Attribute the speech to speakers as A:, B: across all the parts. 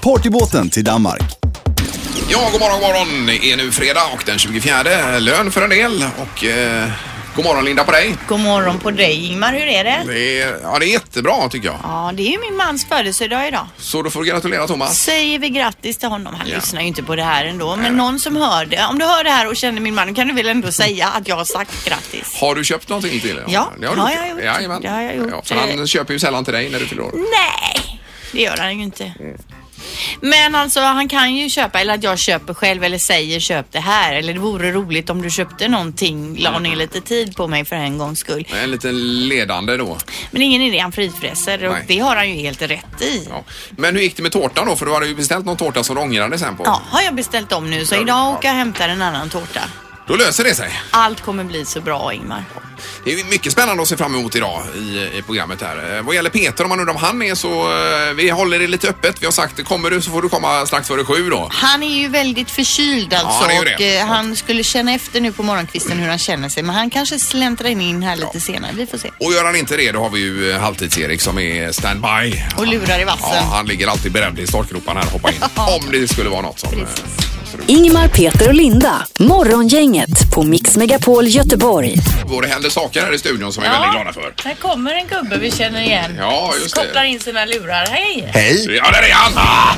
A: partybåten till Danmark.
B: Ja, god morgon, god morgon. Det är nu fredag och den 24 lön för en del. Och eh, god morgon Linda på dig.
C: God morgon på dig Ingmar, hur är det?
B: Det är, ja, det är jättebra tycker jag.
C: Ja, det är ju min mans födelsedag idag.
B: Så då får du gratulera Thomas.
C: Säger vi grattis till honom. Han
B: Ja.
C: lyssnar ju inte på det här ändå, men någon som hör det. Om du hör det här och känner min man kan du väl ändå säga att jag har sagt grattis?
B: Har du köpt någonting till honom?
C: Ja,
B: det har, du
C: har
B: gjort.
C: jag gjort.
B: Jajamän.
C: Det har jag gjort. eh,
B: Ja, för han köper ju sällan till dig när du fyller år.
C: Nej, det gör han ju inte. Men alltså han kan ju köpa eller att jag köper själv eller säger köp det här eller det vore roligt om du köpte någonting, la ner lite tid på mig för en gångs skull.
B: En liten ledande då.
C: Men ingen idé, han frifräser och
B: Nej.
C: det har han ju helt rätt i.
B: Ja. Men hur gick det med tårtan då? För du hade ju beställt någon tårta som du ångrade sen på.
C: Ja, har jag beställt om nu så idag
B: Ja.
C: åker jag och hämtar en annan tårta.
B: Då löser det sig.
C: Allt kommer bli så bra Ingmar.
B: Det är ju mycket spännande att se fram emot idag i, i programmet här. Eh, Vad gäller Peter, om man undrar om han är så... eh, Vi håller det lite öppet. Vi har sagt, kommer du så får du komma strax före sju då.
C: Han är ju väldigt förkyld alltså
B: han är ju
C: och
B: det.
C: eh, han skulle känna efter nu på morgonkvisten hur han känner sig men han kanske släntrar in här lite senare. Vi får se.
B: Och gör han inte det, då har vi ju eh, Halvtids-Erik som är standby.
C: Och lurar i vassen.
B: Ja, han ligger alltid beredd i startgroparna här och hoppar in. om det skulle vara något som... eh,
D: Ingmar, Peter och Linda. Morgongänget på Mix Megapol Göteborg.
B: Och det händer saker här i studion som vi är
E: Ja.
B: väldigt glada för.
E: Här kommer en gubbe vi känner igen.
B: Ja, just det.
E: Kopplar in sina lurar. Hej!
B: Ja, där är han! Ja.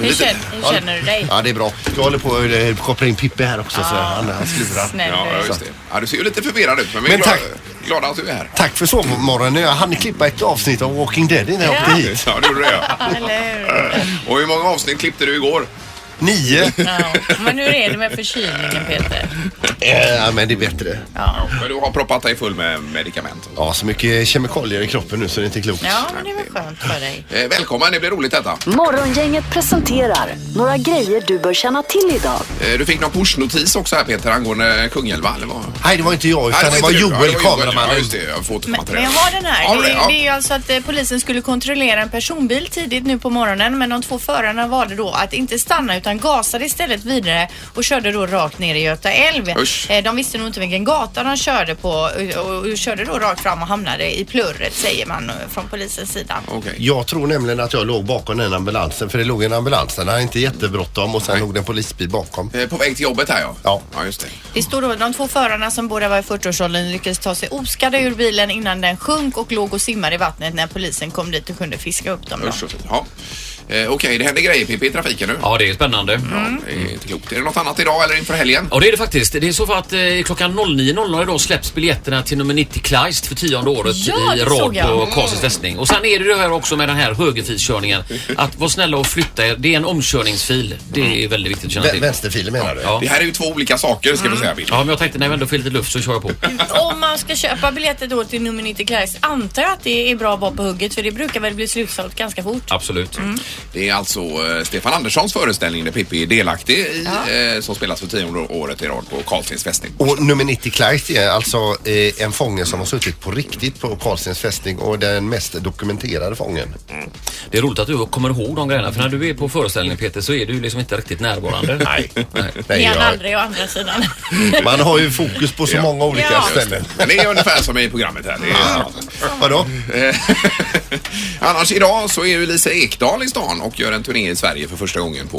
E: Hur känner, hur känner du dig?
F: Ja, det är bra. Jag håller på att koppla in Pippe här också, så han, han slurar.
E: Snäll
B: Ja,
E: du.
B: just det. Ja, du ser ju lite förvirrad ut, men vi är
F: Men
B: glada,
F: tack.
B: glada att du är här.
F: Tack för sovmorgonen. Jag hann klippa ett avsnitt av Walking Dead innan jag åkte hit.
B: Ja, du gjorde det. ja.
E: Eller hur?
B: Och hur många avsnitt klippte du igår?
F: Nio.
E: Ja. Men hur är det med förkylningen Peter?
F: Eh, Ja, men det är bättre.
B: Ja. Men du har proppat dig full med medicament.
F: Ja, så mycket kemikalier i kroppen nu så det är inte klokt.
E: Ja, men det var skönt för dig.
B: Eh, Välkommen, det blir roligt detta.
D: Morgongänget presenterar några grejer du bör känna till idag.
B: Eh, Du fick någon pushnotis också här Peter angående Kungälva, eller vad?
F: Nej, det var inte jag, utan
B: Nej,
F: det
B: inte
F: var
B: du. Ja,
F: Joel, kameramannen.
B: Ja, just det. Jag får
E: Men,
B: återkomma till det.
E: men jag har den här.
B: Har du
E: det,
B: det? Ja.
E: det är ju alltså att eh, polisen skulle kontrollera en personbil tidigt nu på morgonen men de två förarna valde då att inte stanna utan gasade istället vidare och körde då rakt ner i Göta älv.
B: Usch.
E: Eh, De visste nog inte vilken gata de körde på och, och, och körde då rakt fram och hamnade i plurret säger man eh, från polisens sida.
B: Okej.
F: Jag tror nämligen att jag låg bakom den ambulansen, för det låg en ambulans. Den hade inte jättebråttom och sen låg det en polisbil bakom.
B: Eh, På väg till jobbet här ja.
F: Ja.
B: Ja, just det.
E: Det står då de två förarna som båda var i 40-årsåldern lyckades ta sig oskadda ur bilen innan den sjönk och låg och simmade i vattnet när polisen kom dit och kunde fiska upp dem. Då.
B: Usch och fy. Ja. Eh, Okej, det händer grejer Pippi i trafiken nu.
G: Ja, det är spännande.
E: Mm.
B: Det är inte klokt. Är det något annat idag eller inför helgen?
G: Ja, det är det faktiskt. Det är så för att eh, klockan 09.00 idag släpps biljetterna till nummer 90 Kleist för tionde året
E: Ja, det
G: i
E: såg
G: rad
E: jag.
G: på
E: Mm.
G: Karlstads fästning. Och sen är det det här också med den här högerfilskörningen. Att var snälla och flytta er. Det är en omkörningsfil. Det
E: Mm.
G: är väldigt viktigt att känna
F: Vä-
G: till.
F: Vänsterfilen menar du?
G: Ja.
B: Det här är ju två olika saker
E: Mm.
B: ska vi säga Pippi.
G: Ja, men jag tänkte när vi ändå får lite luft så kör jag på.
E: Om man ska köpa biljetter då till nummer 90 Clarice antar jag att det är bra att vara på hugget för det brukar väl bli slutsålt ganska fort.
G: Absolut.
E: Mm.
B: Det är alltså eh, Stefan Anderssons föreställning där Pippi är delaktig i, eh, som spelas för tionde året i rad på Karlstens fästning.
F: Och nummer 90 Kleist är alltså eh, en fånge som har suttit på riktigt på Karlstens fästning och den mest dokumenterade fången.
G: Det är roligt att du kommer ihåg de grejerna. För när du är på föreställningen Peter så är du liksom inte riktigt närvarande. Nej.
F: Nej,
E: Det är han
F: jag-
E: aldrig å andra sidan.
F: Man har ju fokus på så
B: Ja.
F: många olika
E: Ja.
F: ställen.
B: Men det är ungefär som i programmet här. Det är
F: Vadå?
B: Eh, Annars idag så är ju Lisa Ekdahl i stan och gör en turné i Sverige för första gången på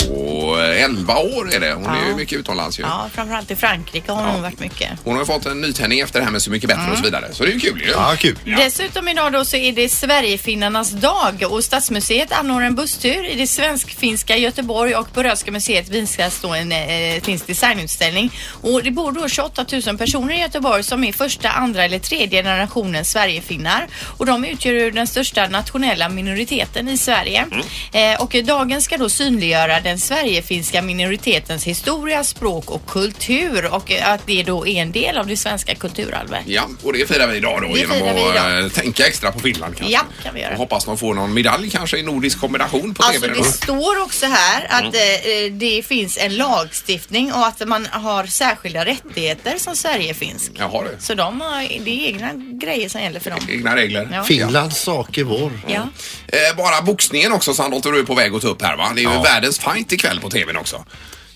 B: eh, 11 år är det. Hon är ju mycket utomlands ju.
E: Ja, framförallt i Frankrike har hon varit mycket.
B: Hon har ju fått en nytändning efter det här med Så mycket bättre och så vidare. Så det är ju kul ju.
F: Ja, kul.
E: Dessutom idag då så är det Sverigefinnarnas dag och Stadsmuseet anordnar en busstur i det svensk-finska Göteborg och på Röhsska museet visas då en eh, finsk designutställning. Och det bor då 28 000 personer i Göteborg som är första, andra eller tredje generationens Sverigefinnar och de utgör ju den största största nationella minoriteten i Sverige. Eh, och dagen ska då synliggöra den sverigefinska minoritetens historia, språk och kultur och eh, att det då är en del av det svenska kulturarvet.
B: Ja, och det firar vi idag då
E: Det
B: genom
E: firar vi
B: att
E: idag.
B: eh, tänka extra på Finland kanske.
E: Ja, kan vi göra.
B: Och hoppas de får någon medalj kanske i nordisk kombination på
E: Alltså
B: TV.
E: det står också här
B: Mm.
E: att eh, det finns en lagstiftning och att man har särskilda rättigheter som Sverigefinsk.
B: Jaha du.
E: Så de har, det är egna grejer som gäller för dem.
B: Egna regler.
E: Ja.
F: Finlands sak är vår.
E: Ja.
B: Eh, bara boxningen också Sandholt, du är på väg att ta upp här va? Det är ju världens fight ikväll på TVn också.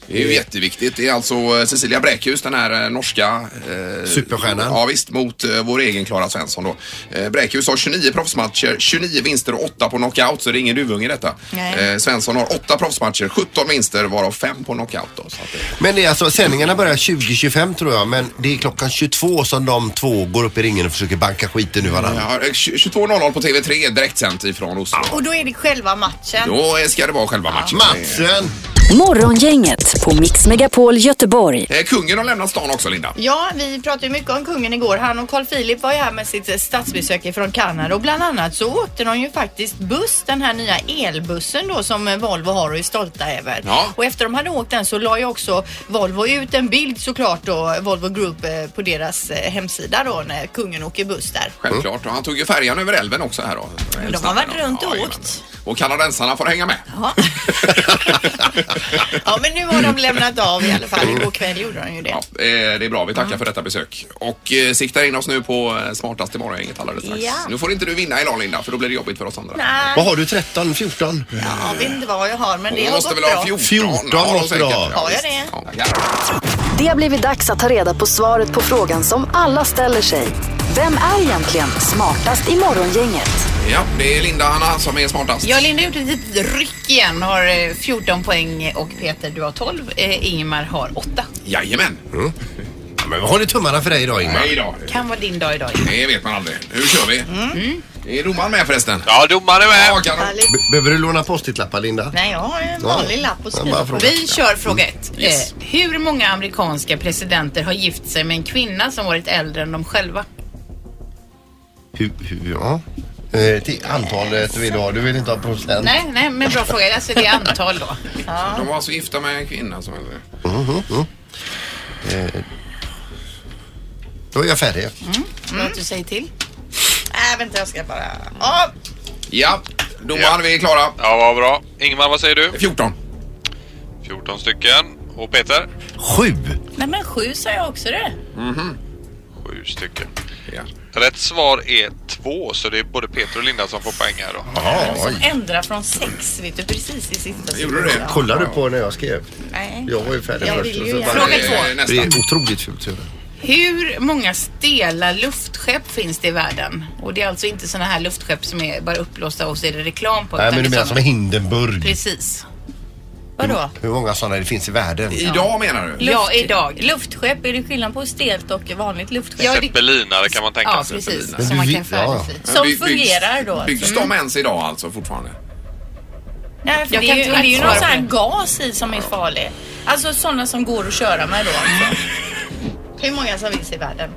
B: Det är ju jätteviktigt. Det är alltså eh, Cecilia Bräkhus, den här eh, norska... Eh,
F: Superstjärnan.
B: Ja visst, mot eh, vår egen Klara Svensson då. Eh, Bräkhus har 29 proffsmatcher, 29 vinster och 8 på knockout, så det är ingen duvunge i detta.
E: Nej.
B: Eh, Svensson har 8 proffsmatcher, 17 vinster, varav 5 på knockout då. Så att, eh,
F: Men det är alltså, sändningarna börjar 2025 tror jag, men det är klockan 22 som de två går upp i ringen och försöker banka skiten nu varandra.
B: ja, eh, 22.00 på TV3, direktsänt ifrån Oslo.
E: Och då är det själva matchen.
B: Då eh, ska det vara själva matchen.
F: Matsen!
D: Morgongänget på Mix Megapol Göteborg.
B: Eh, Kungen har lämnat stan också, Linda.
E: Ja, vi pratade ju mycket om kungen igår. Han och Carl Philip var ju här med sitt statsbesök från Kanada och bland annat så åkte de ju faktiskt buss, den här nya elbussen då som Volvo har och är stolta över.
B: Ja.
E: Och efter de hade åkt den så la ju också Volvo ut en bild såklart då, Volvo Group eh, på deras eh, hemsida då när kungen åker buss där.
B: Självklart. Och han tog ju färjan över älven också här då.
E: de har varit runt och åkt.
B: Och kanadensarna får hänga med.
E: Ja. ja, men nu har de lämnat av i alla fall. Igår kväll gjorde de ju det.
B: Ja, eh, det är bra. Vi tackar för detta besök. Och eh, siktar in oss nu på eh, smartaste morgongänget alldeles strax.
E: Ja.
B: Nu får inte du vinna idag Linda, för då blir det jobbigt för oss andra.
E: Nej,
F: Vad har du? 13, 14?
E: jag vet inte vad jag har men det
B: Hon
E: har
B: måste
E: gått
B: väl ha
E: bra.
B: 14?
F: 14
B: har hon
F: måste du ha.
B: säkert.
E: Har jag
B: visst.
E: det?
B: Ja,
D: Det har blivit dags att ta reda på svaret på frågan som alla ställer sig. Vem är egentligen smartast i morgongänget?
B: ja, det är Linda Anna som är smartast.
C: Ja, Linda gjorde ett litet ryck igen. Har eh, 14 poäng och Peter du har 12. Eh, Ingemar har 8.
B: Jajamän.
F: Ja, men vi håller tummarna för dig idag Ingmar.
B: Nej då.
C: Kan vara din dag idag.
B: Det vet man aldrig. Nu kör vi.
E: Mm.
B: Mm. Är domaren med förresten?
G: Ja, domaren är
B: Ja, kanon.
F: Be- behöver du låna post-it-lappar Linda?
E: Nej, jag har ju en vanlig
F: Ja.
E: lapp att
F: Ja,
E: skriva
F: bara Mm,
E: på.
F: fråga.
C: Vi kör fråga ett.
B: Yes.
C: Eh, hur många amerikanska presidenter har gift sig med en kvinna som varit äldre än de själva?
F: Hur, hur, ja. Eh, till antalet vill du ha, du vill inte ha procent.
C: Nej, nej, men bra fråga. Alltså det är antal då.
B: De var alltså gifta med en kvinna som... eller?
F: Eh, Då är jag färdig.
C: Vad du säger till?
E: Nej, vänta, jag ska bara... Ja,
B: Ja, domaren, vi är klara.
H: Ja, vad bra. Ingmar, vad säger du?
B: 14.
H: 14 stycken. Och Peter?
F: Sju!
C: Nej, men sju sa jag också det.
H: 7 stycken.
B: Ja.
H: Rätt svar är 2, så det är både Peter och Linda som får poäng här då.
F: Jaha, oj.
E: ändra från sex, vet du, precis i sista
B: Gjorde du det?
F: Kollar du på när jag skrev?
E: Nej.
F: Jag var ju färdig
E: Jag
F: först.
E: vill
F: och
E: ju
F: så
E: gärna.
F: bara-
C: Fråga två.
B: Eh,
F: Det
B: Nästa.
F: är otroligt fult. ser du.
C: Hur många stela luftskepp finns det i världen? Och det är alltså inte såna här luftskepp som är bara uppblåsta och så är det reklam på.
F: Nej,
C: utan
F: men du
C: det är
F: menar som
C: såna-
F: Hindenburg.
C: Precis. Vadå?
F: Hur många sådana det finns i världen?
B: Idag menar du?
C: Ja, idag.
E: Luftskepp, är det skillnad på stelt och vanligt luftskepp?
C: Ja, det-
H: Zeppelinare kan man tänka
C: Ja,
H: sig.
C: precis.
F: Men
C: Som
F: du
C: man kan
F: vet- ja,
C: färdas
F: ja.
C: i.
E: Som
B: Bygg-
E: fungerar då.
B: Byggs de ens idag alltså fortfarande?
E: Nej, för
C: Jag
E: det,
C: kan
E: är ju,
C: inte
E: det är ju
C: svara
E: någon
C: på
E: sån här
C: det.
E: gas i som är farlig. Alltså sådana som går att köra med då. Alltså. Hur många som finns i världen?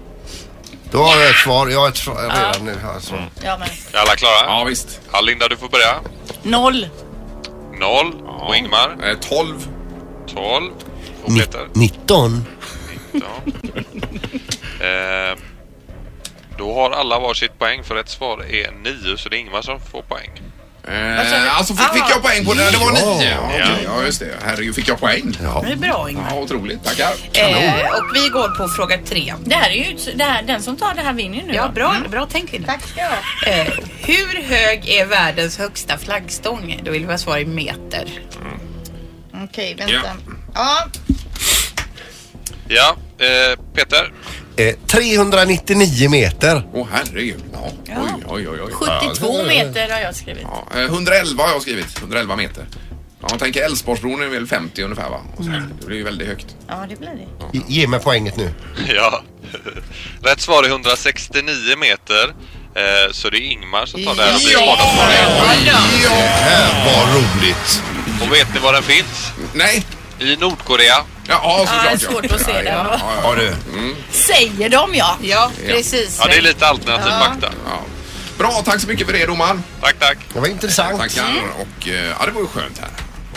F: Då har jag ett svar. Jag har ett svar redan nu. Alltså.
E: Ja, men...
H: Är alla klara?
B: Ja visst.
H: Ja, Linda, du får börja.
E: Noll.
H: 0. Och Ingmar?
B: Eh, 12.
H: 12. Och
F: Ni-
H: Peter?
F: 19.
H: 19. eh, då har alla varsitt poäng för rätt svar är 9, så det är Ingmar som får poäng.
B: Eh, alltså fick, fick
E: Ah.
B: jag poäng på det? Det var nio. Ja, okej. ja just det. Herregud, fick jag poäng?
C: Det är bra Ingmar.
B: Ja, otroligt. Tackar.
C: Eh, och vi går på fråga tre.
E: Det här är ju... ett- Det här, den som tar det här vinner ju nu.
C: Ja,
E: då. Mm.
C: bra, bra tänk Linda.
E: Tack ska du ha.
C: Eh, hur hög är världens högsta flaggstång? Då vill vi ha svar i meter.
E: Okej,
B: Ja.
E: vänta. Ja.
H: Ja, eh, Peter?
F: Eh, 399 meter.
B: Åh herregud. Ja. Oj, oj, oj. oj.
E: 72 meter har jag skrivit.
B: Ja, eh, 111 har jag skrivit. 111 meter. Ja, man tänker Älvsborgsbron är väl 50 ungefär va? Och så,
E: Mm.
B: Det blir ju väldigt högt.
E: Ja, det blir det.
F: Ge- Ge mig poänget nu.
H: Ja. Rätt svar är 169 meter. Eh, så det är Ingmar som tar det här och blir smartast på det.
B: Ja.
F: Här var roligt.
H: Och vet ni var den finns?
B: Nej.
H: I Nordkorea.
B: Ja, såklart ja.
E: det är svårt att se
B: Ja,
E: det.
B: ja, ja, ja.
F: du.
E: Säger de ja.
C: Ja, precis.
H: Ja, det är lite alternativ fakta.
B: Ja. Bra, tack så mycket för det domaren.
I: Tack, tack.
F: Det var intressant.
B: Tackar. Och eh, ja, det var ju skönt här.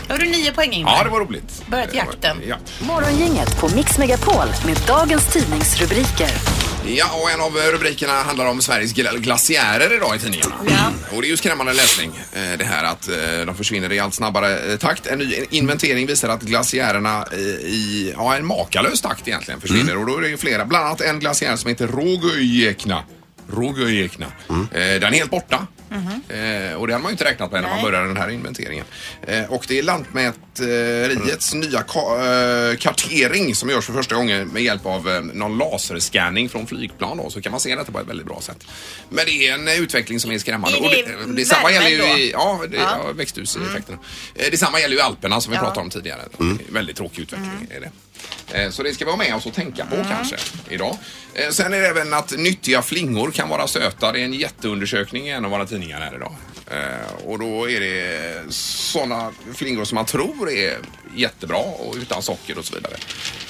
E: Har du nio poäng Ingmar?
B: Ja, det var roligt. Eh,
E: Börjat jakten.
B: Ja.
D: Morgongänget på Mix Megapol med dagens tidningsrubriker.
B: Ja, och en av eh, rubrikerna handlar om Sveriges gla- glaciärer idag i tidningarna. Och det är ju skrämmande läsning eh, det här att eh, de försvinner i allt snabbare eh, takt. En ny inventering visar att glaciärerna eh, i ja, en makalös takt egentligen försvinner.
E: Mm.
B: Och då är det ju flera, bland annat en glaciär som heter Rågöjekna. Rågöjekna.
E: Mm.
B: Eh, Den är helt borta.
E: Mhm.
B: Eh, och det hade man ju inte räknat med när man började den här inventeringen. Eh, och det är Lantmäteriets
E: Mm.
B: nya ka eh, kartering som görs för första gången med hjälp av eh, någon laserscanning från flygplan då, så kan man se detta på ett väldigt bra sätt. Men det är en eh, utveckling som är skrämmande.
E: Är
B: och
E: det
B: det, detsamma gäller ju
E: värmen
B: i,
E: då?
B: ja, det,
E: Ja. Mm.
B: ja. växthuseffekterna. Eh, detsamma gäller ju Alperna som vi
E: Ja. Mm.
B: pratade om tidigare. Det är en Väldigt tråkig utveckling är det. Eh, Så det ska vi ha med oss och tänka på kanske idag. Eh, Sen är det även att nyttiga flingor kan vara söta. Det är en jätteundersökning i en av våra tidningar här idag. Eh, Och då är det sådana flingor som man tror är jättebra och utan socker och så vidare.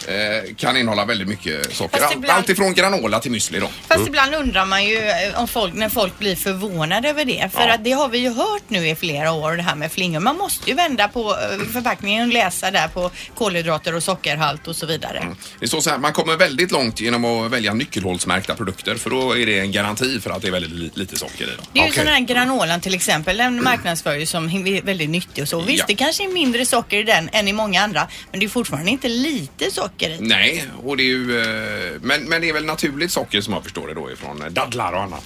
B: Eh, Kan innehålla väldigt mycket socker.
E: Fast ibland-
B: Allt ifrån granola till müsli då.
E: Fast ibland undrar man ju eh, om folk, när folk blir förvånade över det. För
B: Ja.
E: att det har vi ju hört nu i flera år det här med flingor. Man måste ju vända på eh, förpackningen och läsa där på kolhydrater och sockerhalt och så vidare.
B: Det står så här, man kommer väldigt långt genom att välja nyckelhålsmärkta produkter för då är det en garanti för att det är väldigt li- lite socker i dem.
E: Det är ju sån här granolan till exempel. Den marknadsför ju som he- väldigt nyttig och så. Visst,
B: Ja.
E: det kanske är mindre socker i den än i många andra. Men det är fortfarande inte lite socker i.
B: Nej, och det är ju, eh, men, men det är väl naturligt socker som jag förstår det då ifrån eh, dadlar och annat.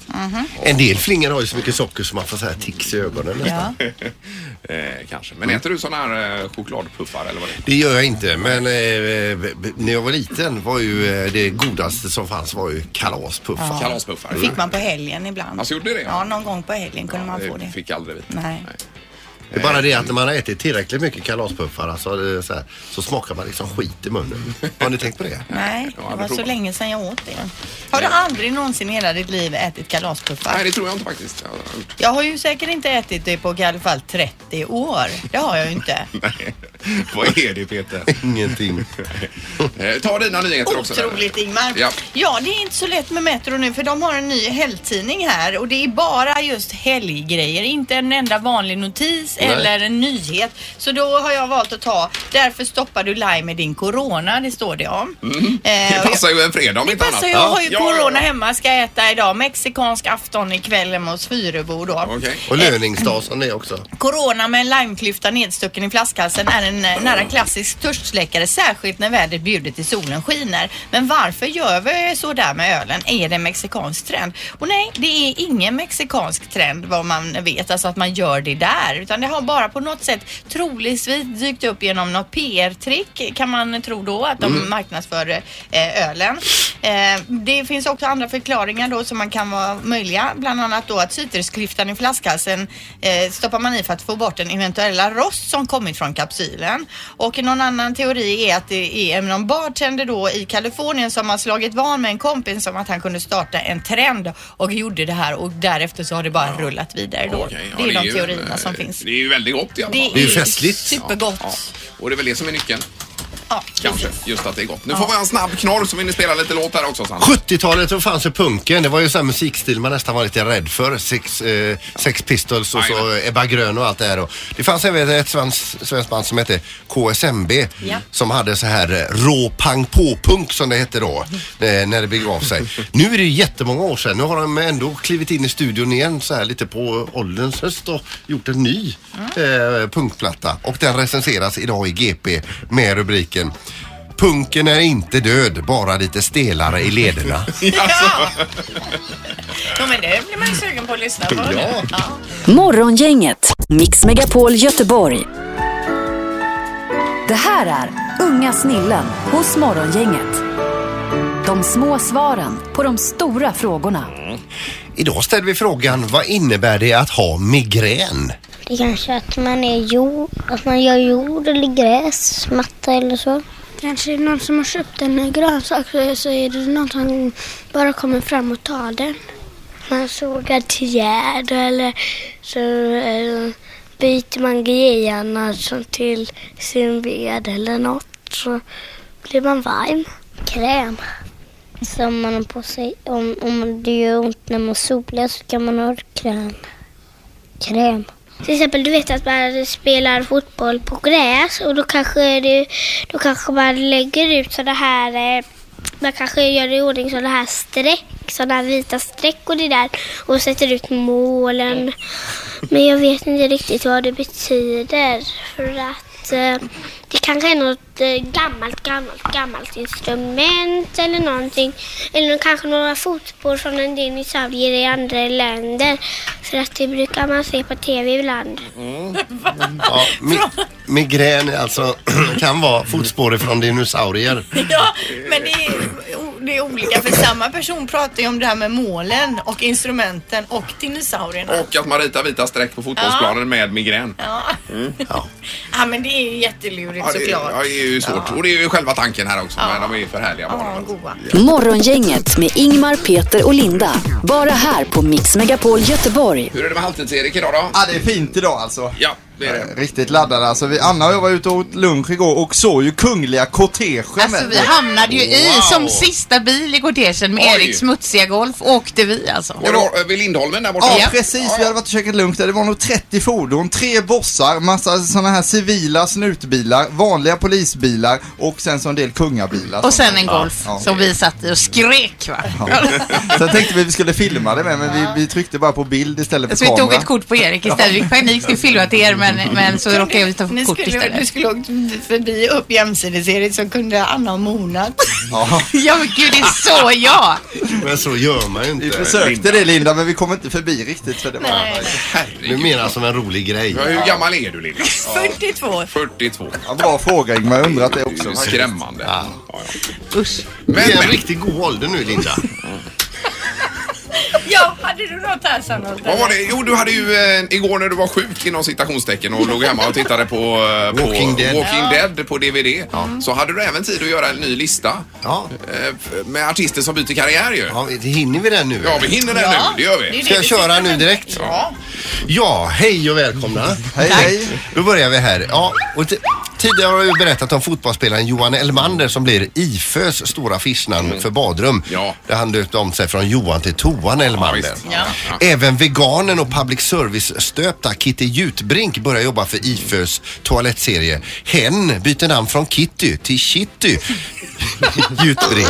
F: En del flingor har ju så mycket socker som man får så här tics i ögonen nästan.
B: eh, kanske. Men äter du såna här eh, chokladpuffar eller vad det är?
F: Det gör jag inte men eh, eh, b- när jag var liten var ju eh, det godaste som fanns var ju kalaspuffar.
E: Ja.
B: Kalaspuffar.
E: Fick man på helgen ibland.
B: Alltså, gjorde det det?
E: Ja, någon gång på helgen kunde man få det.
B: Fick aldrig vi.
E: Nej.
F: Det är bara det att när man har ätit tillräckligt mycket kalaspuffar alltså, det är så, här, så smakar man liksom skit i munnen. Har ni tänkt på det?
E: Nej, det
F: aldrig
E: var så
F: provat.
E: länge sedan jag åt det. Har du aldrig någonsin i hela ditt liv ätit kalaspuffar?
B: Nej, det tror jag inte faktiskt. Jag har gjort.
E: Jag har ju säkert inte ätit det på i alla fall 30 år. Det har jag ju inte.
B: Nej. Vad är det Peter?
F: Ingenting.
B: Eh, Ta dina nyheter också.
E: Otroligt Ingmar.
B: Ja.
E: Ja, det är inte så lätt med Metro nu för de har en ny helgtidning här och det är bara just helggrejer. Inte en enda vanlig notis
J: Nej.
E: eller en nyhet. Så då har jag valt att ta Därför stoppar du live med din corona. Det står det om. Eh,
B: Mm. Det passar ju en fredag om
E: Det
B: inte annat.
E: passar ju, jag har ju corona hemma, ska äta idag. Mexikansk afton ikväll hemma hos Fyrebo då.
F: Och löningsdagen det också.
E: Corona med en limeklyfta nedstucken i flaskhalsen är en eh, nära klassisk törstsläckare, särskilt när vädret bjuder till solen skiner. Men varför gör vi så där med ölen? Är det en mexikansk trend? Och nej, det är ingen mexikansk trend vad man vet, alltså att man gör det där. Utan det har bara på något sätt troligtvis dykt upp genom något PR-trick kan man tro då att de
J: Mm.
E: marknadsför eh, ölen. Eh, det finns också andra förklaringar då som man kan vara möjliga. Bland annat då att citrusklyftan i flaskhalsen eh, stoppar man i för att få bort den eventuella rost som kommit från kapsylen. Och någon annan teori är att det är någon bartender då i Kalifornien som har slagit van med en kompis om att han kunde starta en trend och gjorde det här och därefter så har det bara rullat vidare då. det är de
B: ju,
E: teorierna
B: eh,
E: som finns.
B: Det är ju väldigt gott i alla
E: Det
B: fall. Mm.
E: är festligt. supergott.
B: Ja, ja. Och det är väl det som är nyckeln.
E: Ja,
B: Kanske, just att det är gott. Nu får vi ha en snabb knorr så vill ni spela lite låt här också Sandra.
F: 70-talet då fanns ju punken. Det var ju sån här musikstil man nästan var lite rädd för. Six, eh, Sex Pistols och så Ebba Grön och allt det här. då. det fanns även ett svenskt svensk band som hette KSMB
K: Ja.
F: som hade så här eh, rå pang på punk som det hette då eh, när det begav sig. Nu är det ju jättemånga år sedan. Nu har de ändå klivit in i studion igen så här lite på ålderns höst och gjort en ny eh, punkplatta och den recenseras idag i GP med rubriken Punken är inte död, bara lite stelare i lederna.
E: Ja, men det blir man ju sugen på att lyssna på. nu.
F: Ja.
E: Ja.
D: Morgongänget, Mix Megapol Göteborg. Det här är Unga snillen hos Morgongänget. De små svaren på de stora frågorna.
F: Idag ställer vi frågan, vad innebär det att ha migrän?
L: Det är kanske att man är jord, att man gör jord eller gräs, matta eller så. Kanske någon som har köpt en grönsak så är det någon som bara kommer fram och tar den. Man sågar till gärd eller så eh, byter man grejen alltså till sin ved eller något så blir man varm. Kräm.
M: som man har på sig. Om, om det gör ont när man solar så kan man ha kräm. Kräm. Till exempel du vet att man spelar fotboll på gräs och då kanske, det, då kanske man lägger ut sådana här eh, man kanske gör i ordning sådana här streck, sådana här vita streck och det där och sätter ut målen. Men jag vet inte riktigt vad det betyder för att eh, det kanske är något eh, gammalt, gammalt, gammalt instrument eller någonting. Eller kanske några fotspår från en dinosaurie i andra länder. För att det brukar man se på tv ibland.
F: Ja, mi migrän är alltså kan vara fotspår från dinosaurier.
E: Ja, men det är, o- det är olika för samma person pratar ju om det här med målen och instrumenten och dinosaurierna.
B: Och att man ritar vita streck på fotbollsplanen med migrän.
E: Ja.
B: Mm. Ja.
E: ja, men det är ju jättelurigt
B: det,
E: såklart.
B: ja, det är ju svårt. Och det är ju själva tanken här också. Men de är ju för härliga barnen.
D: Morgongänget med Ingmar, Peter och Linda. Bara här på Mix Megapol Göteborg.
B: Hur är det med halvtids-Erik idag då?
L: Ja, det är fint idag alltså.
B: Ja, det är det.
L: Riktigt laddade alltså. Vi, Anna och jag var ute och åt lunch igår och såg ju Kungliga kortegen.
N: Alltså vi hamnade ju i, som sista bil i kortegen med
L: Oj.
N: Eriks smutsiga golf åkte vi alltså.
L: Det var-
B: eh, Vid Lindholmen där borta?
L: Ja, precis. Vi hade varit och käkat lunch där. Det var nog 30 fordon, tre bossar, massa sådana här civila snutbilar, vanliga polisbilar och sen så en del kungabilar.
N: Och sen en golf som vi satt i och skrek va.
L: Sen tänkte vi att vi skulle filma det med, men vi, vi tryckte bara på bild istället för
N: Så vi
L: kamera.
N: tog ett kort på Erik istället. Vi fick panik skulle filma till er men, men så råkade vi ta
E: Ni
N: kort
E: skulle,
N: istället.
E: du skulle åkt förbi upp jämsides Erik så kunde Anna ha monat.
L: Ja.
N: Ja men gud det är så jag.
F: Men så gör man ju inte.
L: Vi försökte det Linda, men vi kom inte förbi riktigt för det var...
F: Du menar som en rolig grej.
L: Ja, hur gammal
B: är du Linda?
E: 42.
B: 42.
L: Ja, bra fråga Ingmar, jag undrat det också.
B: Skrämmande. Ja.
N: Usch.
F: Men, det är en riktigt god ålder nu Linda.
E: ja, hade du något här Sandholt?
B: Vad var det? Jo, du hade ju eh, igår när du var sjuk inom citationstecken och låg hemma och tittade på, eh, på
F: Walking Dead.
B: Walking
F: Ja.
B: Dead på DVD. Så hade du även tid att göra en ny lista eh, f- med artister som byter karriär ju.
F: Ja, hinner vi det nu?
B: Ja, vi hinner det
F: Ja.
B: nu. Det gör vi.
F: Ska jag köra nu direkt? Ja. Ja, hej och välkomna. Hej, hej. Då börjar vi här. Ja, och ti- tidigare har jag ju berättat om fotbollsspelaren Johan Elmander som blir IFÖs stora affischnamn för badrum. Mm. Ja. Där han döpte om sig från Johan till Toan Elmander. Även veganen och public service-stöpta Kitty Jutbrink börjar jobba för IFÖs toalettserie. Hen byter namn från Kitty till Kitty Jutbrink.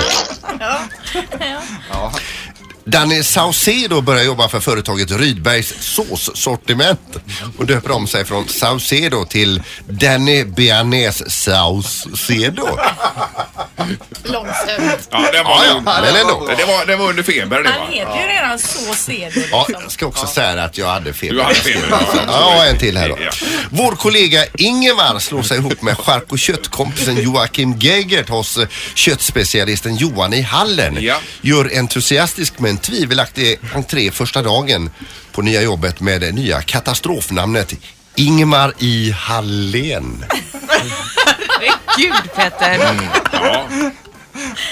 F: Danny Saucedo börjar jobba för företaget Rydbergs såssortiment och döper om sig från Saucedo till Danny Bearnaise Saucedo.
E: Långsökt.
B: Ja, det var
F: Ja, ja,
B: men
F: det var
B: ändå.
F: bra.
B: Det var, det var under feber det va?
E: Han heter ju redan så liksom. sedo.
F: Ja, jag ska också säga att jag hade fel.
B: Du hade fel.
F: Ja, en till här då. Vår kollega Ingemar slår sig ihop med chark och köttkompisen Joakim Geigert hos eh, köttspecialisten Johan i Hallen. Gör entusiastisk men tvivelaktig entré första dagen på nya jobbet med det nya katastrofnamnet Ingemar i Hallen.
N: Gud Petter.
B: Ja.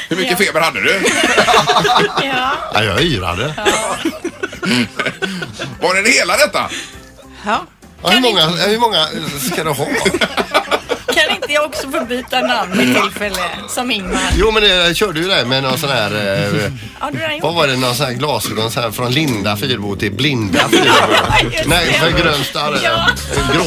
B: Hur mycket feber hade du?
F: Ja, jag yrade.
B: Var den hela detta?
N: Ja.
F: hur, många, hur många ska du ha?
E: Kan inte jag också få byta namn vid tillfälle? Som Ingmar.
F: Jo men eh, det körde ju det med någon sån här eh,
E: Ja, du har gjort
F: Vad var det, någon sån här glasögon så här, från Linda Fyrbo till Blinda Fyrbo? Nej, för grön starr.
E: Ja.
F: eh, Grå.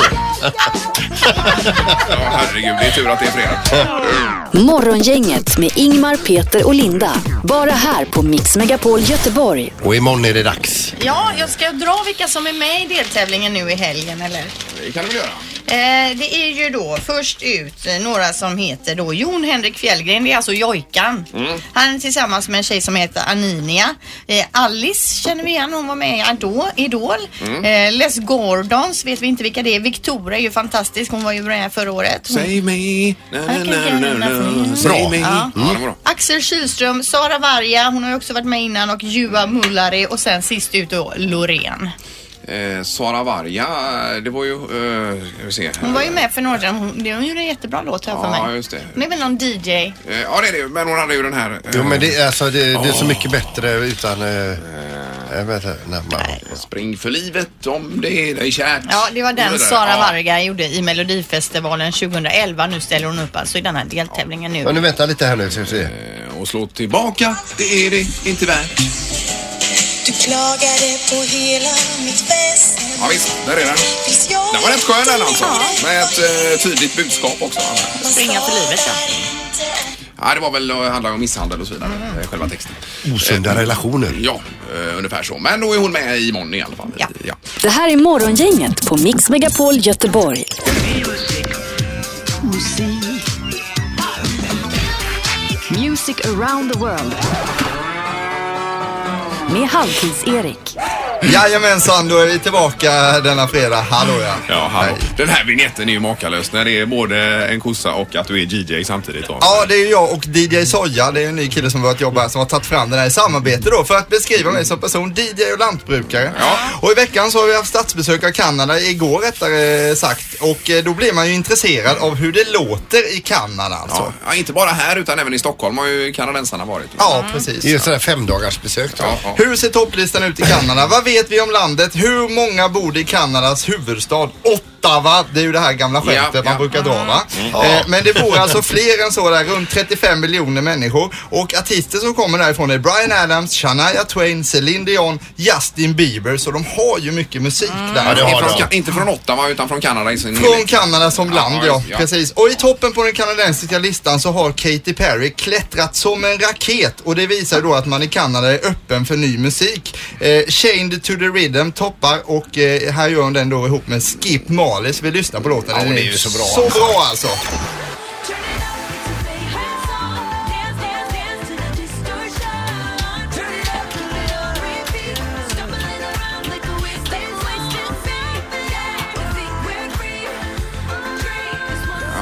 B: Ja, herregud. Det är tur att det är fredag.
D: Morgongänget med Ingmar, Peter och Linda. Bara här på Mix Megapol Göteborg.
F: Och imorgon är det dags.
E: Ja, jag ska dra vilka som är med i deltävlingen nu i helgen eller?
B: Det kan du väl göra?
E: Eh, det är ju då först ut eh, några som heter då Jon Henrik Fjällgren, det är alltså Jojkan.
B: Mm.
E: Han är tillsammans med en tjej som heter Aninia. Eh, Alice känner vi igen, hon var med i Ado- Idol.
B: Mm.
E: Eh, Les Gordons vet vi inte vilka det är. Victoria är ju fantastisk, hon var ju med förra året. Hon...
B: Save me. Na, na, na, na, na. Save me.
E: Ja.
B: Ja, det var bra.
E: Axel Kylström, Sara Varga, hon har ju också varit med innan och Juha Mullari och sen sist ut då Loreen.
B: Eh, Sara Varga, det var ju... Eh, ska vi se.
E: Hon var ju med för några år sedan, hon, det- hon gjorde en jättebra låt här för mig.
B: Ja, just det.
E: Hon är väl någon DJ?
B: Eh, Ja, det är det. Men hon hade ju den här... eh,
F: Jo men det, är- alltså, det, det är så mycket bättre utan... Eh, jag vet inte, när man,
B: Spring för livet om det är dig kärt.
E: Ja, det var den
B: där.
E: Sara
B: Ja.
E: Varga gjorde i Melodifestivalen 2011. Nu ställer hon upp alltså i den här deltävlingen
F: Ja, nu
E: nu.
F: vänta lite här nu ska vi se.
B: eh, Och slå tillbaka, det är det inte värt.
O: Du klagade på hela mitt väsen
B: Ja, visst, där är den. Den var rätt skön den alltså. Med ett eh, tydligt budskap också.
C: Springa för livet ja.
B: Ja, det var väl att handla om misshandel och så vidare,
E: Mm.
B: eh, själva texten.
F: Osunda relationer.
B: Ja, eh, ungefär så. Men då är hon med imorgon i alla fall. Ja.
D: Det här är Morgongänget på Mix Megapol Göteborg. Music around the world. Med Halvtids-Erik.
L: Jajamensan, då är vi tillbaka denna fredag. Hallå ja.
B: Ja, hallå. Den här vignetten är ju makalös när det är både en kossa och att du är DJ samtidigt. Då.
L: Ja, det är ju jag och DJ Soja, det är ju en ny kille som börjat jobba här som har tagit fram den här i samarbete då för att beskriva mig som person, DJ och lantbrukare. Och i veckan så har vi haft statsbesök av Kanada, igår rättare sagt, och eh, då blir man ju intresserad av hur det låter i Kanada alltså.
B: Ja, inte bara här utan även i Stockholm har ju kanadensarna varit.
L: Ja, precis.
F: Det är ett sådär femdagarsbesök.
B: Ja, ja.
L: Hur ser topplistan ut i Kanada? Vad vet vi om landet? Hur många bor i Kanadas huvudstad? Ottawa, det är ju det här gamla skämtet
F: Ja,
L: man
F: ja.
L: brukar dra va?
F: Mm.
L: Eh,
F: Ja.
L: men det bor alltså fler än så där, runt 35 miljoner människor. Och artister som kommer därifrån är Bryan Adams, Shania Twain, Celine Dion, Justin Bieber. Så de har ju mycket musik där.
B: Ja, det har från, Ka- inte från Ottawa utan från Kanada i sin
L: Från Kanada som land
B: Ja,
L: ja,
B: ja.
L: precis. Och i toppen på den kanadensiska listan så har Katy Perry klättrat som en raket och det visar ju då att man i Kanada är öppen för ny musik. Eh, Chained to the Rhythm toppar och eh, här gör hon den då ihop med Skip Marley. Vi lyssnar på låten.
F: Ja,
L: Den
F: det är ju så bra.
L: Så bra alltså.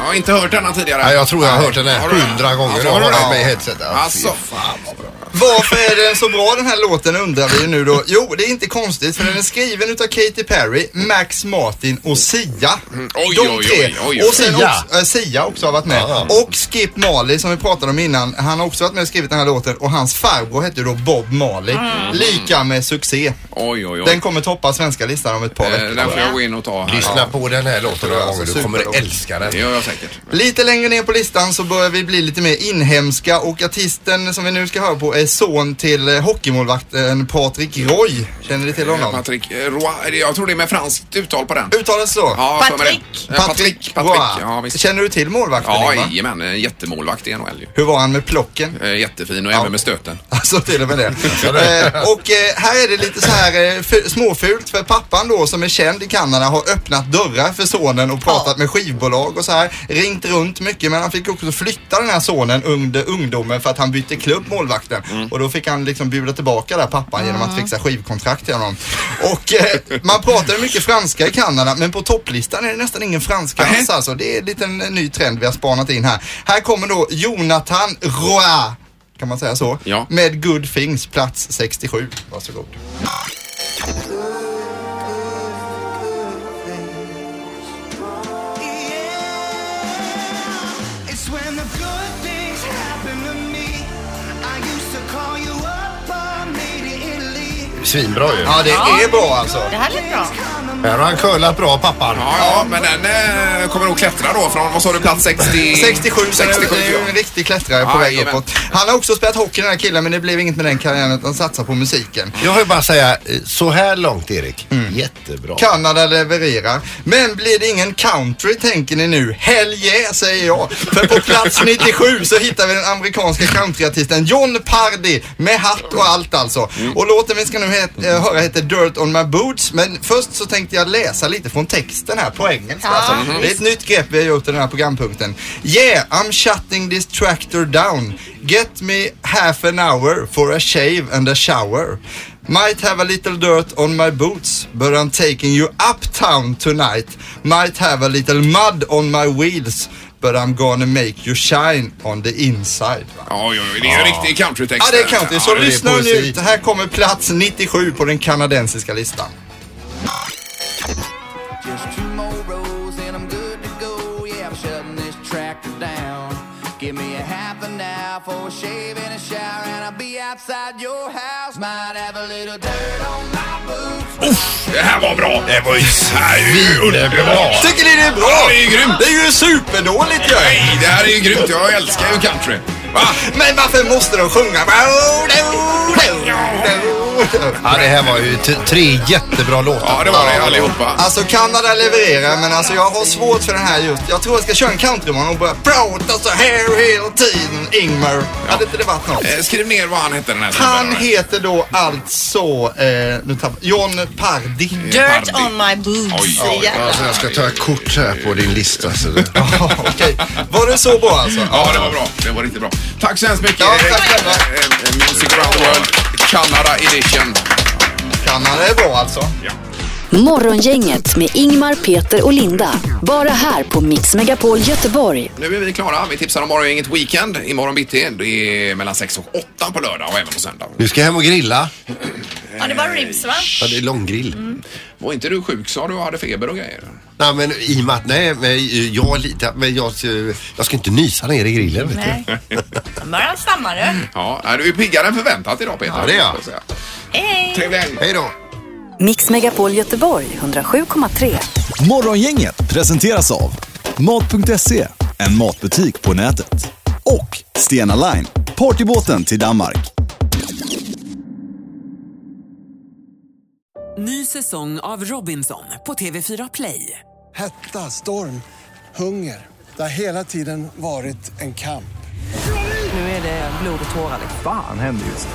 B: Jag har inte hört denna tidigare.
F: Ja, jag tror jag har hört den här
B: Har du det?
F: hundra gånger.
B: Alltså,
F: jag
B: har
F: har
B: du
F: den
B: det?
F: med i headsetet.
B: Alltså,
L: Varför är den så bra den här låten undrar vi ju nu då. Jo, det är inte konstigt för den är skriven utav Katy Perry, Max Martin och Sia.
B: oj,
L: Mm. De
B: oj,
L: tre.
B: oj, oj, oj.
L: Och sen
B: Sia.
L: Också, äh, Sia också har varit med.
B: Ja,
L: Och Skip Marley som vi pratade om innan, han har också varit med och skrivit den här låten och hans farbror hette ju då Bob Marley.
B: Mm.
L: Lika med succé.
B: Oj, Eh, oj, oj.
L: Den kommer toppa svenska listan om ett par veckor.
B: den får jag gå in och ta här.
F: Lyssna
B: Ja.
F: på den här låten några gånger.
B: Alltså,
F: Du
L: Superbra.
F: kommer älska den.
B: Det gör jag säkert. Eh,
L: Lite längre ner på listan så börjar vi bli lite mer inhemska och artisten som vi nu ska höra på är son till eh, hockeymålvakten Patrik Roy. Känner ni till
B: Eh,
L: honom?
B: Patrik, eh, Roy, är det- jag tror det är med franskt uttal på den.
L: Uttalas så?
B: Ja, jag för mig det. Eh, Patrik, Patrik,
L: Roy.
B: ja, visst.
L: Känner du till målvakten?
B: Ja,
L: Ingmar?
B: jajamän. En jättemålvakt i NHL ju.
L: Hur var han med plocken?
B: Eh, Jättefin och även med stöten.
L: Alltså till och med det.
B: Ja, det-
L: eh, och eh, här är det lite så här eh, f- småfult för pappan då som är känd i Kanada har öppnat dörrar för sonen och pratat med skivbolag och så här. Ringt runt mycket men han fick också flytta den här sonen under ungdomen för att han bytte klubb målvakten. Och då fick han liksom bjuda tillbaka där pappan genom att fixa skivkontrakt till honom. Och eh, man pratar ju mycket franska i Kanada men på topplistan är det nästan ingen franska alls alltså. Det är lite en liten ny trend vi har spanat in här. Här kommer då Jonathan Roy. Kan man säga så?
B: Ja.
L: Med Good Things, plats 67. Varsågod.
O: It's when the good things happen to me I used to call you up on maybe Italy
F: Svinbra ju.
L: Ja, det är bra alltså.
O: Det här lät bra.
F: Här har han curlat bra pappan.
B: Ja, ja, men den eh, kommer nog klättra då från, vad sa du, plats 60...
L: 67, så det är-
B: 67
L: det är ju en riktig klättrare på
B: Ja,
L: väg
B: jajamän.
L: uppåt. Han har också spelat hockey den här killen men det blev inget med den karriären utan satsar på musiken.
F: Jag vill bara säga, eh, så här långt Erik,
B: Mm.
F: jättebra.
L: Kanada levererar. Men blir det ingen country tänker ni nu? Hell yeah, säger jag. För på plats 97 så hittar vi den amerikanska countryartisten John Pardy med hatt och allt alltså. Och låten vi ska nu het, eh, höra heter Dirt on my boots. Men först så tänkte jag läsa lite från texten här på engelska. Alltså.
F: Ja,
L: Det är ett nytt grepp vi har gjort i den här programpunkten. Yeah, I'm shutting this tractor down. Get me half an hour for a shave and a shower. Might have a little dirt on my boots, but I'm taking you uptown tonight. Might have a little mud on my wheels, but I'm gonna make you shine on the inside.
B: Ja, ja, ja, det är ju en riktig countrytext.
L: Ja, det är country. Så
B: Ja, det är
L: lyssna nu
B: poesi.
L: ut. Här kommer plats 97 på den kanadensiska listan.
O: Just two more rows and I'm good to go. Yeah, I'm shutting this tractor down. Give me a half an hour for a shave and a shower, and I'll be outside your house. Might have a little dirt on my boots.
B: Det här var bra! Det var ju svinbra!
L: Tycker ni det är bra?
B: Ja, det är ju grymt!
L: Det är ju superdåligt ju!
B: Nej, det här är ju grymt. Jag älskar ju country.
L: Men varför måste de sjunga?
F: Ja, det här var ju t- tre jättebra låtar. Ja,
B: det var det allihopa.
L: Alltså Kanada levererar men alltså jag har svårt för den här just. Jag tror jag ska köra en countryman och börja prata så här hela tiden. Ingmar. Hade inte det varit något?
B: Eh, Skriv ner vad han hette den här
L: Han heter då alltså eh, nu tappar- John Pardi.
C: Dirt on my boobs. Jävlar.
F: Alltså, jag ska ta ett kort här på din lista. Så det...
L: Var det så bra alltså?
B: Ja, det var bra. Det var riktigt bra. Tack så hemskt mycket Erik. Eh, eh, Music around the world, Canada edition.
L: Kanada är bra alltså.
D: Morgongänget med Ingmar, Peter och Linda. Bara här på Mix Megapol Göteborg.
B: Nu är vi klara. Vi tipsar om Morgongänget Weekend imorgon bitti. Det är mellan 6 och 8 på lördag och även på söndag.
F: Du ska hem och grilla.
E: Ja, det var ribs va?
F: Ja, det är långgrill.
B: Var inte du sjuk sa du och hade feber och grejer?
F: Nej, men i och med att, nej, men jag litar, men jag, jag ska inte nysa ner i grillen. Vet du.
E: Nej. Bara stammar du.
B: Ja, nej, du är piggare än förväntat idag Peter.
F: Ja, det är jag.
B: Så att säga.
E: Hej!
B: Trevlig helg.
F: Hej då.
D: Mix Megapol Göteborg 107,3.
A: Morgongänget presenteras av Mat.se, en matbutik på nätet. Och Stena Line, partybåten till Danmark.
P: Ny säsong av Robinson på TV4 Play.
Q: Hetta, storm, hunger. Det har hela tiden varit en kamp.
P: Nu är det blod och tårar. liksom.
R: Fan händer just det.